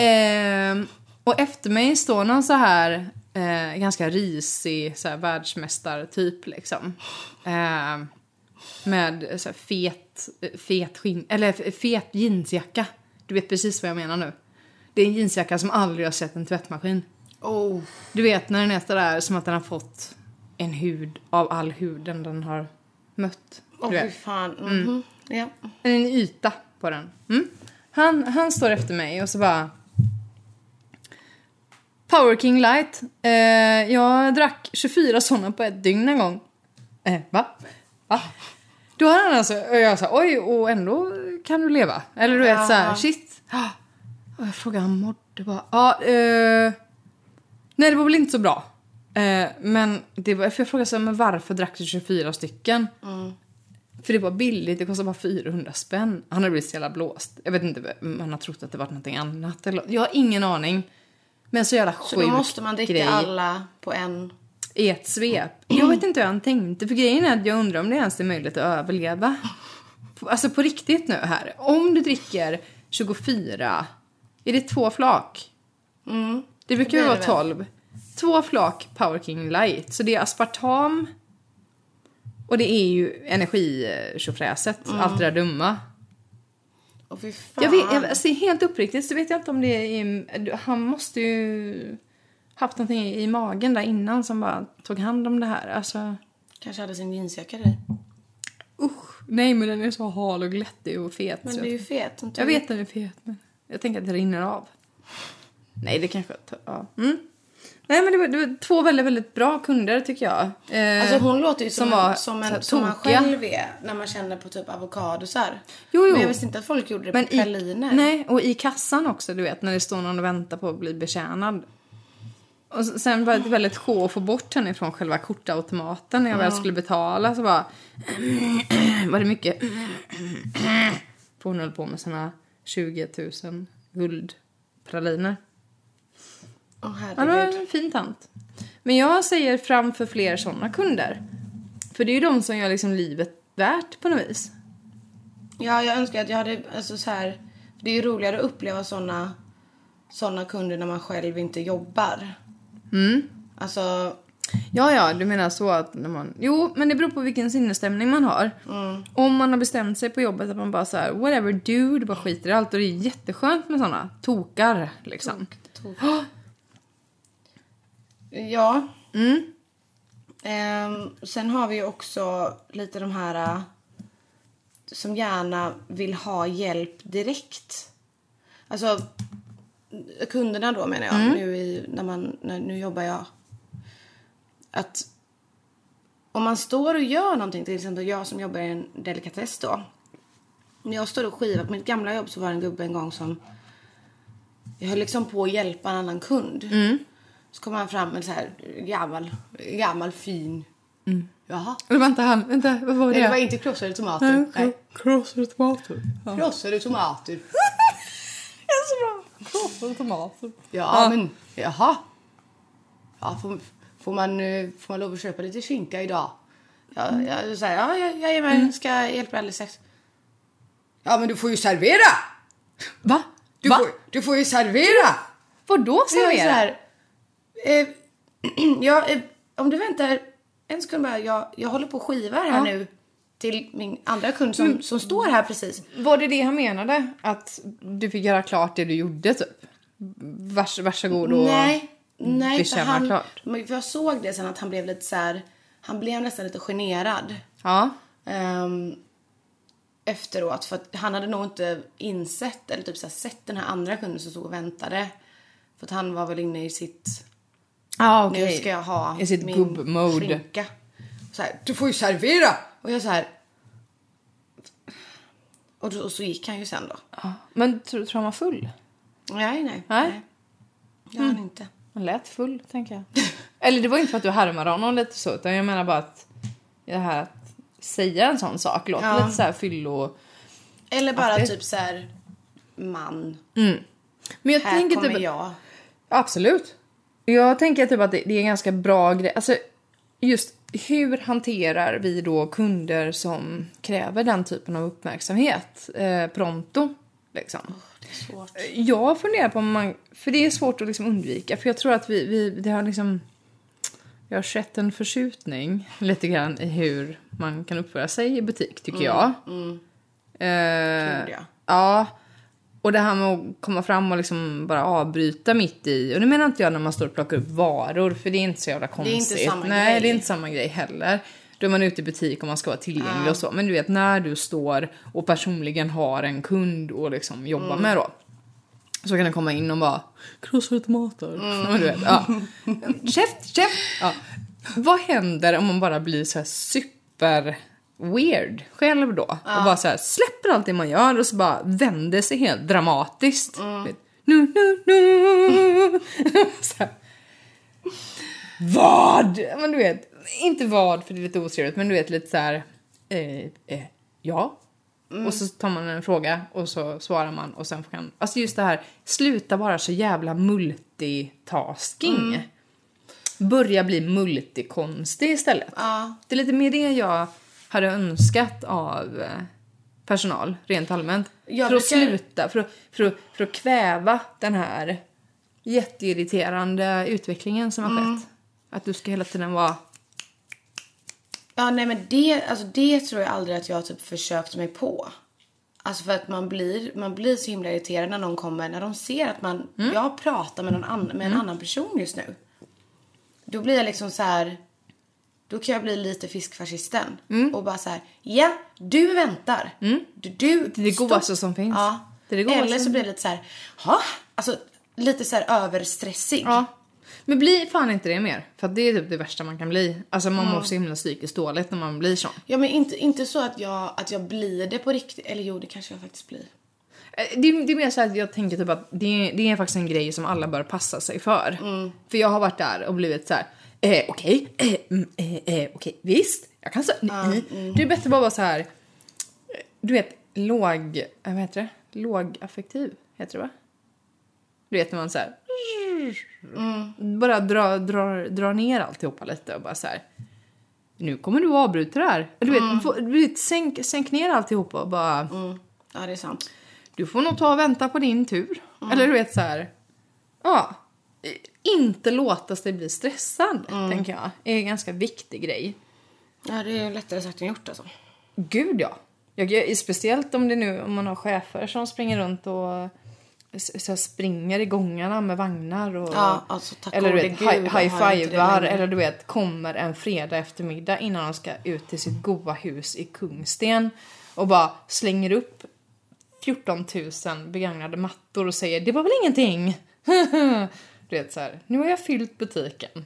S2: Eh, och efter mig står någon så här eh, ganska risig så här, världsmästartyp liksom. Eh, med så här, fet, fet, skinn, eller fet jeansjacka. Du vet precis vad jag menar nu. Det är en jeansjacka som aldrig har sett en tvättmaskin.
S1: Oh.
S2: Du vet när den är sådär som att den har fått en hud av all huden den har mött.
S1: Åh,
S2: Du
S1: fy
S2: vet. Mm.
S1: fan. Mhm. Ja.
S2: En yta på den. Mm. Han, han står efter mig och så bara... Power King Light. Eh, jag drack 24 sådana på ett dygn en gång. Eh, va? Va? Då har han alltså... Och jag sa oj, och ändå kan du leva. Eller du vet så här,
S1: Ja.
S2: shit. Ah. Och jag frågade han mådde bara. Ja, eh, nej, det var väl inte så bra. Eh, men det var, för jag frågade så här, men varför drack du 24 stycken?
S1: Mm.
S2: För det var billigt, det kostade bara 400 spänn. Han hade blivit så jävla blåst. Jag vet inte om han har trott att det var någonting annat. Eller, jag har ingen aning. Men så jävla sjuk
S1: Så då måste man dricka
S2: grej
S1: alla på en.
S2: i ett svep. Jag vet inte hur han tänkte, för grejen är att jag undrar om det ens är möjligt att överleva. På- Alltså på riktigt nu här. Om du dricker 24, är det två flak?
S1: Mm.
S2: Det brukar
S1: Det
S2: ju
S1: blir
S2: vara
S1: det väl.
S2: 12. Två flak Power King Light. Så det är aspartam
S1: Mm.
S2: och det är ju energitjofräset, allt det där dumma.
S1: Och fy fan.
S2: Jag vet, jag, alltså, helt uppriktigt så vet jag inte om det är... Han måste ju haft någonting i magen där innan som bara tog hand om det här. Alltså,
S1: Kanske hade sin jeansjacka där i.
S2: usch. Nej, men den är så hal och glättig och fet.
S1: Men
S2: så
S1: du är ju
S2: jag,
S1: fet. som
S2: jag
S1: tur är.
S2: vet den är fet, men jag tänker att det rinner av. Nej, det kanske... Ja. Mm. Nej, men det var, det var två väldigt, väldigt bra kunder tycker jag. Eh,
S1: Alltså hon låter ju som,
S2: som
S1: en-
S2: var
S1: som,
S2: så här
S1: en, som man
S2: tokiga.
S1: själv är när man känner på typ avokadosar.
S2: Jo, jo.
S1: Men jag visste inte att folk gjorde det
S2: Men
S1: på praliner.
S2: Nej, och i kassan också, du vet, när det står någon och väntar på att bli betjänad. Och s- sen var det väldigt sjå att få bort henne från själva kortautomaten när jag väl skulle betala så bara var det mycket för hon höll på med sina 20 000 guldpraliner.
S1: Åh
S2: Ja, det var
S1: herregud.
S2: en fin tant. Men jag säger framför fler sådana kunder. För det är ju de som gör liksom livet värt på något vis.
S1: Ja, jag önskar att jag hade, alltså så här. Det är ju roligare att uppleva såna, såna kunder när man själv inte jobbar.
S2: Mm.
S1: Alltså,
S2: Ja, ja, du menar så att när man... Jo, men det beror på vilken sinnesstämning man har.
S1: Mm.
S2: Om man har bestämt sig på jobbet att man bara så här, whatever dude, bara skiter i allt. Och det är jätteskönt med såna tokar liksom.
S1: ja.
S2: Mm.
S1: Ehm, sen har vi ju också lite de här äh, som gärna vill ha hjälp direkt. Alltså kunderna då menar jag. Nu, i, när man, när, nu jobbar jag. Att om man står och gör någonting, till exempel jag som jobbar i en delikatess då. När jag står och skivar på mitt gamla jobb så var det en gubbe en gång som jag höll liksom på att hjälpa en annan kund. Så kom han fram med en så här gammal, gammal fin. Jaha.
S2: Eller vänta, han, vänta, vad var
S1: Nej, Mm. det var
S2: det?
S1: inte krossade tomater. Nej.
S2: Krossade tomater. Ja.
S1: Krossade tomater.
S2: Det är så bra. Krossade tomater.
S1: Ja,
S2: Ja.
S1: men jaha. Ja, får, får, man, eh, får man lov att köpa lite skinka idag? Ja, jag, så här, ja, jag, jag är med. Ska jag hjälpa dig alldeles strax? Ja, men du får ju servera!
S2: Va?
S1: Du,
S2: Va?
S1: Får, du får ju servera!
S2: Vadå
S1: Så jag är så
S2: servera?
S1: här, eh, ja, eh, om du väntar en sekund bara. Jag, jag håller på och skivar här
S2: Ja. Mm.
S1: nu till min andra kund som, som står här precis.
S2: Var det det han menade? Att du fick göra klart det du gjorde typ? Vars, varsågod och...
S1: Nej, nej för
S2: bekänna
S1: han,
S2: klart.
S1: men för jag såg det sen att han blev lite så här, han blev nästan lite generad
S2: Ja.
S1: ehm, efteråt för att han hade nog inte insett eller typ så här, sett den här andra kunden som stod och väntade. För att han var väl inne i sitt,
S2: Ah,
S1: nu ska jag ha
S2: I sitt gubb-mode.
S1: skinka. Så här, du får ju servera! Och jag så här. Och, då, och så gick han ju sen då.
S2: Men tror, tror han var full?
S1: Nej, nej.
S2: Nej. Mm.
S1: Det var han inte.
S2: Han lät full, tänker jag. Eller det var inte för att du härmade honom lite så, utan jag menar bara att det här att säga en sån sak låter
S1: Ja.
S2: lite så här fyllo...
S1: Eller bara
S2: Okej.
S1: typ så här man.
S2: Men jag
S1: Här
S2: tänker
S1: kommer
S2: typ...
S1: jag.
S2: Absolut. Jag tänker typ att det, det är en ganska bra grej. Alltså, just hur hanterar vi då kunder som kräver den typen av uppmärksamhet eh, pronto? Liksom.
S1: Svårt.
S2: Jag funderar på om man... För det är svårt att liksom undvika. För jag tror att vi, vi det har liksom... Det har skett en förskjutning lite grann i hur man kan uppföra sig i butik, tycker
S1: Mm,
S2: jag. Eh,
S1: Tror jag.
S2: Ja. Och det här med att komma fram och liksom bara avbryta mitt i. Och nu menar inte jag när man står och plockar upp varor, för det är inte så jävla
S1: är inte
S2: konstigt.
S1: samma
S2: Nej,
S1: grej.
S2: det är inte samma grej heller. Då är man ute i butik och man ska vara tillgänglig och så. Men du vet, när du står och personligen har en kund och liksom jobbar
S1: Mm.
S2: med då. Så kan den komma in och bara krossade tomater. Ja, men du vet, ja. käft, käft! Ja. Vad händer om man bara blir så här super weird själv då? Och bara så här, släpper allt det man gör och så bara vänder sig helt dramatiskt. Vet, Nu, nu, nu! så här. Vad? Men du vet, inte vad för det är lite otrevligt men du vet lite så här. Eh, eh, ja. Och så tar man en fråga och så svarar man och sen får man. Alltså just det här, sluta vara så jävla multitasking. Börja bli multikonstig istället.
S1: Ja.
S2: Det är lite mer det jag hade önskat av eh, personal rent allmänt.
S1: Jag
S2: för att
S1: brukar-
S2: sluta, för att, för, att, för att kväva den här jätteirriterande utvecklingen som har
S1: Mm.
S2: skett. Att du ska hela tiden vara...
S1: Ja, nej men det, alltså det tror jag aldrig att jag typ försökt mig på. Alltså för att man blir, man blir så himla irriterad när någon kommer, när de ser att man,
S2: Mm.
S1: jag pratar med, någon annan, med en annan person just nu. Då blir jag liksom så här. Då kan jag bli lite fiskfascisten.
S2: Mm.
S1: Och bara så här, ja, du väntar. Du, du,
S2: Det är det godaste som finns.
S1: Ja.
S2: Det är det godaste
S1: Eller så
S2: som
S1: blir det lite så här, ha? Alltså lite så här överstressig.
S2: Ja. Men bli fan inte det mer. För att det är typ det värsta man kan bli. Alltså man
S1: Mm.
S2: mår så himla psykiskt dåligt när man blir sån.
S1: Ja men inte, inte så att jag, att jag blir det på riktigt. Eller jo det kanske jag faktiskt blir.
S2: Eh, Det, är- det är mer så här att jag tänker typ att det, det är faktiskt en grej som alla bör passa sig för. För jag har varit där och blivit så här. Eh, okej, eh, mm, eh, eh, okej, visst, jag kan säga nej. Det är bättre bara vara så här. eh, Du vet, låg, eh, vad heter det? Lågaffektiv heter det va? Du vet när man så här. Bara drar dra, dra ner alltihopa lite och bara så här. Nu kommer du avbryta det här. Du vet, få, du vet sänk, sänk ner alltihopa och bara
S1: Mm. Ja det är sant.
S2: du får nog ta och vänta på din tur. Eller du vet så här. Ja. Inte låta sig bli stressad, tänker jag. är en ganska viktig grej.
S1: Ja det är lättare sagt än gjort alltså.
S2: Gud ja. Jag, jag, speciellt om det nu om man har chefer som springer runt och s- så här, springer i gångarna med vagnar och
S1: Ja, alltså, tack
S2: eller du
S1: gode
S2: vet
S1: gud,
S2: hi-
S1: har jag inte det
S2: high-fivar
S1: längre.
S2: eller du vet kommer en fredag eftermiddag innan de ska ut till sitt goa hus i Kungsten och bara slänger upp 14 000 begagnade mattor och säger det var väl ingenting. du vet så här, nu har jag fyllt butiken.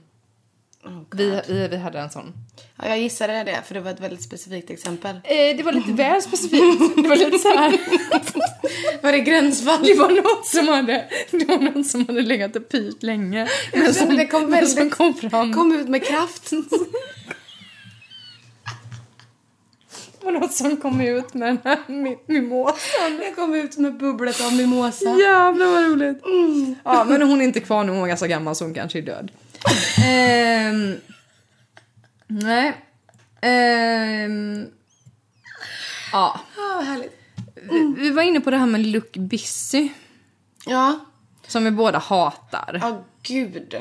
S1: Oh,
S2: vi, vi, vi hade en sån
S1: Ja jag gissade det för det var ett väldigt specifikt exempel.
S2: Eh, det var lite väl specifikt. Det var lite så här.
S1: Var det gränsfall?
S2: Det var något som hade, det var något som hade legat och pyrt länge. Men
S1: kände
S2: som,
S1: det kom
S2: men som
S1: väldigt-
S2: kom fram.
S1: Kom ut med kraft.
S2: Det var något som kom ut med den här mi- mimosan.
S1: Jag kom ut med bubblet av mimosa.
S2: Jävlar vad roligt. Ja, men hon är inte kvar nu. Hon var ganska gammal så hon kanske är död. Ehm, nej. Ehm, ja.
S1: Ja, vad härligt.
S2: Vi, vi var inne på det här med look busy.
S1: Ja.
S2: Som vi båda hatar.
S1: Ja gud.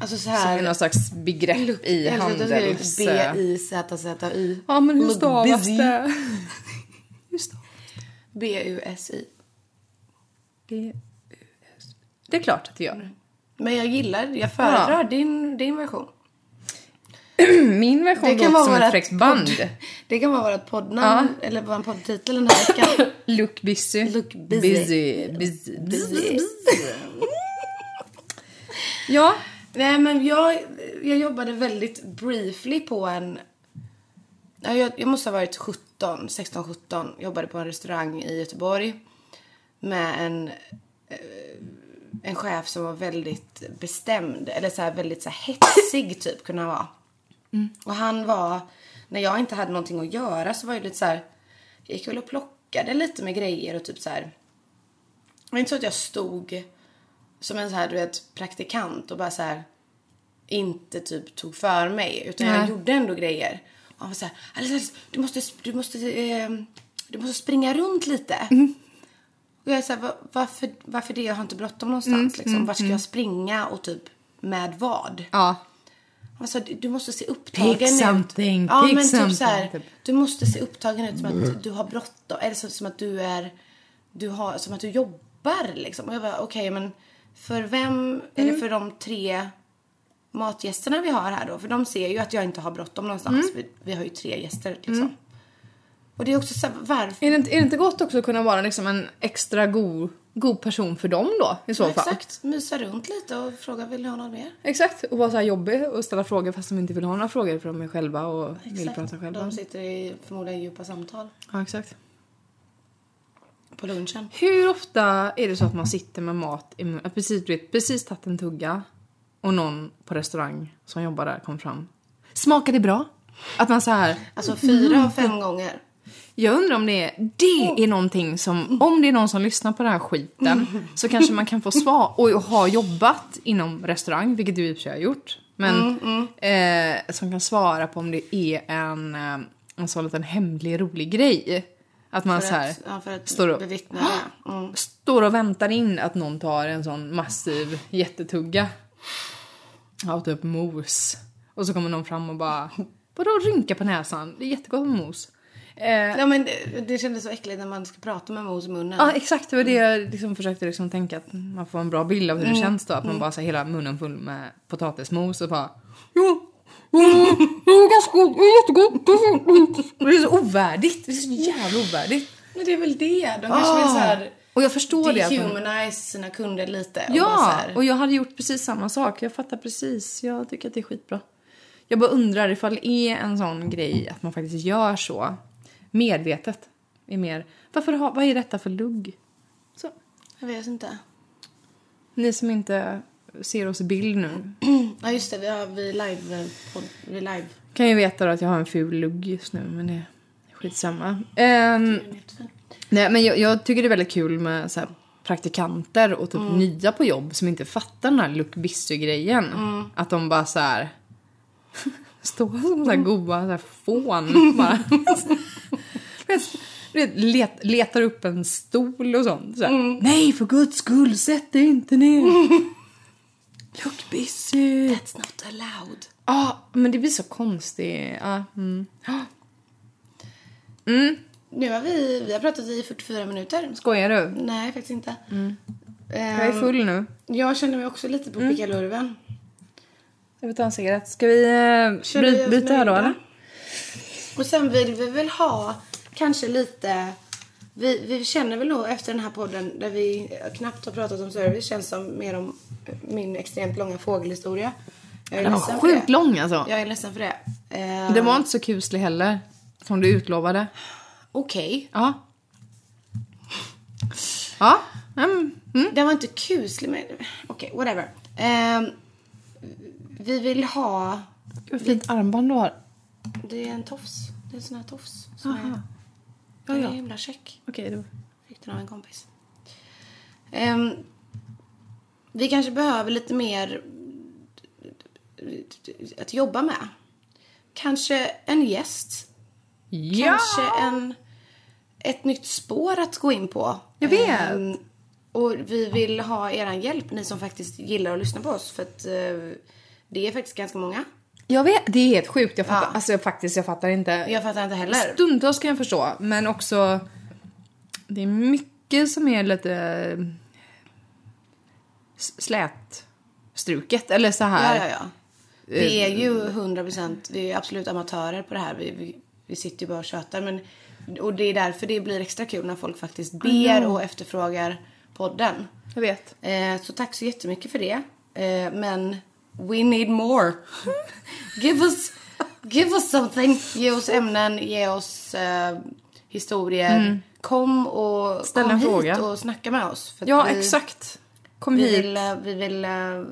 S1: Alltså så
S2: Som är
S1: här.
S2: någon slags begrepp i handels...
S1: B-I-Z-Z-I.
S2: Ja, men hur
S1: Look
S2: stavas
S1: busy.
S2: det?
S1: B-U-S-I.
S2: B- Det är klart att det gör.
S1: Men jag gillar, jag föredrar din, din version. Mm.
S2: Min version låter som ett
S1: vårat
S2: fräckt band.
S1: podd- Det kan vara vårt poddnamn, eller vår poddtitel den här veckan.
S2: Look busy.
S1: Look busy.
S2: Busy. busy. Ja.
S1: Nej men jag, jag jobbade väldigt briefly på en... Ja, Jag, jag måste ha varit 17, 16, 17. Jobbade på en restaurang i Göteborg. Med en, eh, en chef som var väldigt bestämd. Eller så här, väldigt så här, hetsig typ kunde han vara. Och han var, när jag inte hade någonting att göra så var jag lite så här. Jag gick väl och plockade lite med grejer och typ så här. Det var inte så att jag stod som en så här, du vet, praktikant och bara så här inte typ tog för mig utan jag
S2: Nej.
S1: gjorde ändå grejer. Och han var så här, Alice, Alice, du måste, du måste, eh, du måste springa runt lite. Och jag är så här, "Va- varför, varför det? Jag har inte bråttom någonstans
S2: Mm,
S1: liksom. Vart ska jag springa och typ med vad?
S2: Ja.
S1: Han sa, du du måste se upptagen
S2: Pick
S1: ut.
S2: something,
S1: ja,
S2: pick
S1: men
S2: something,
S1: Typ så här,
S2: typ.
S1: du måste se upptagen ut som att du har bråttom. Eller som, som att du är, du har, som att du jobbar liksom. Och jag bara, okej men för vem, eller
S2: Mm.
S1: för de tre matgästerna vi har här då. För de ser ju att jag inte har bråttom
S2: Mm.
S1: någonstans. Vi, vi har ju tre gäster liksom. Och det är också så här, varför?
S2: Är det, inte, är det inte gott också att kunna vara liksom en extra god, god person för dem då i så fall?
S1: Exakt, mysa runt lite och fråga vill ni ha något mer?
S2: Exakt. Och vara så här jobbig och ställa frågor fast de inte vill ha några frågor för de är själva och vill prata
S1: Exakt.
S2: själva.
S1: De sitter i förmodligen djupa samtal
S2: Ja, exakt.
S1: på lunchen.
S2: Hur ofta är det så att man sitter med mat i mun- precis, du vet, precis tagit en tugga och någon på restaurang som jobbar där kom fram. Smakar det bra? Att man så här,
S1: Alltså fyra av
S2: Mm.
S1: fem gånger.
S2: jag undrar om det är, det är någonting som, om det är någon som lyssnar på den här skiten så kanske man kan få svar och har jobbat inom restaurang, vilket du i och för sig har gjort. Men
S1: Mm,
S2: Eh, som kan svara på om det är en, eh, en sån liten hemlig rolig grej. Att man så
S1: För
S2: Alltså
S1: att,
S2: här,
S1: ja, för att
S2: står upp.
S1: bevittna det. Mm.
S2: står och väntar in att någon tar en sån massiv jättetugga av typ mos. Och så kommer någon fram och bara, vadå rynka på näsan? Det är jättegott med mos. Eh, Eh,
S1: Ja, men det, det kändes så äckligt när man ska prata med mos i munnen.
S2: Ja exakt, det var det jag liksom försökte liksom tänka att man får en bra bild av hur det känns då. Att man bara så här hela munnen full med potatismos och bara ja, ja, det är mm. ganska Mm, gott, det är jättegott. det är så- Det är så ovärdigt, det är så jävla ovärdigt.
S1: Men det är väl det. De kanske vill så här
S2: Och jag förstår Ah. det. att man-
S1: dehumanize sina kunder lite. och bara så
S2: Ja,
S1: här-
S2: och jag hade gjort precis samma sak. Jag fattar precis. Jag tycker att det är skitbra. Jag bara undrar ifall det är en sån grej att man faktiskt gör så medvetet. Är mer, varför har, vad är detta för lugg? Så.
S1: Jag vet inte.
S2: Ni som inte ser oss i bild nu
S1: Ja, just det. Vi, har, vi live... eh, podd- Vi live.
S2: kan ju veta då att jag har en ful lugg just nu, men det är skitsamma. Ehm, nej, men jag, jag tycker det är väldigt kul med så här, praktikanter och typ nya på jobb som inte fattar den här look grejen Att de bara så här står som så här goa så här, fån. bara. Du vet, du vet, let, letar upp en stol och sånt. Så här. Nej, för guds skull, sätt dig inte ner. Look busy.
S1: It's not allowed.
S2: Ja, men det blir så konstigt. Ja, mm. mm.
S1: Nu har vi, vi har pratat i 44 minuter.
S2: Skojar du?
S1: Nej, faktiskt inte.
S2: Mm.
S1: Ehm,
S2: Jag är full nu.
S1: jag känner mig också lite på
S2: Mm.
S1: pickalurven.
S2: Jag vill ta en cigarett. Ska vi eh,
S1: Känner vi
S2: bry-
S1: oss
S2: byta här då
S1: nöjda?
S2: eller?
S1: Och sen vill vi väl ha kanske lite... Vi, vi känner väl nog efter den här podden där vi knappt har pratat om service känns som mer om min extremt långa fågelhistoria. Jag är
S2: Den
S1: ledsen
S2: var
S1: för
S2: sjukt
S1: det.
S2: lång alltså.
S1: Jag är ledsen för det. Ehm,
S2: Den var inte så kuslig heller. Som du utlovade.
S1: Okej.
S2: Ja. Ja. Mm. Mm.
S1: Den var inte kuslig men okej, whatever. Ehm, vi vill ha...
S2: Gud, vad fint armband du har.
S1: Det är en tofs. Det är en sån här tofs. Som
S2: Aha.
S1: är,
S2: Ja,
S1: Den
S2: ja.
S1: är himla käck.
S2: Okej då.
S1: Fick den av en kompis. Ehm, vi kanske behöver lite mer att jobba med. Kanske en gäst.
S2: Ja!
S1: Kanske en, ett nytt spår att gå in på.
S2: Jag vet.
S1: Ehm, och vi vill ha er hjälp, ni som faktiskt gillar att lyssna på oss. För att eh, det är faktiskt ganska många.
S2: Jag vet, det är helt sjukt. Jag fattar,
S1: Ja.
S2: alltså, jag, faktiskt, jag fattar inte.
S1: Jag fattar inte heller.
S2: Stundtals kan jag förstå, men också... Det är mycket som är lite... eh, s- slätstruket, eller så
S1: Ja,
S2: här... Eh,
S1: ja, ja. Vi är ju 100%, vi är absolut amatörer på det här. Vi, vi, vi sitter ju bara och tjötar. Men, och det är därför det blir extra kul när folk faktiskt ber
S2: Mm.
S1: och efterfrågar podden.
S2: Jag vet.
S1: Eh, så tack så jättemycket för det. Eh, men we need more. give, us, give us something. Ge oss ämnen, ge oss eh, historier. Kom och
S2: Mm. Ställ
S1: kom
S2: en
S1: hit
S2: fråga.
S1: och snacka med oss. För att
S2: Ja,
S1: vi-
S2: exakt. Kom
S1: vi
S2: hit.
S1: vill, eh, vi vill, eh,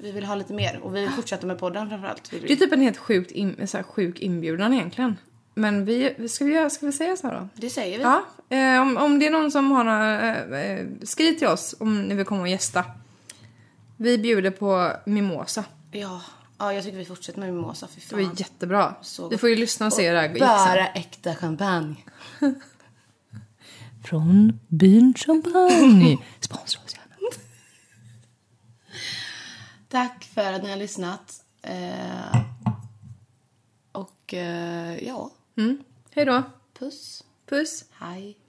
S1: vi vill ha lite mer och vi vill fortsätta med podden framförallt. Vill
S2: Det
S1: vi.
S2: är typ en helt sjukt in, så här, sjuk inbjudan egentligen. Men vi, ska, vi, göra- ska vi säga så här då?
S1: Det säger vi.
S2: Ja, eh, om, om det är någon som har några, eh, eh, skriv till oss om ni vill komma och gästa. Vi bjuder på mimosa.
S1: Ja. ja, jag tycker vi fortsätter med mimosa. Fy
S2: Det var
S1: fan.
S2: jättebra.
S1: Så
S2: Vi
S1: gott.
S2: får ju lyssna och se hur det här gick sen.
S1: Bara äkta champagne.
S2: Från byn Champagne. Sponsra oss gärna.
S1: Tack för att ni har lyssnat. Eh, och eh, ja,
S2: Mm. Hej då.
S1: puss.
S2: Puss.
S1: Hej.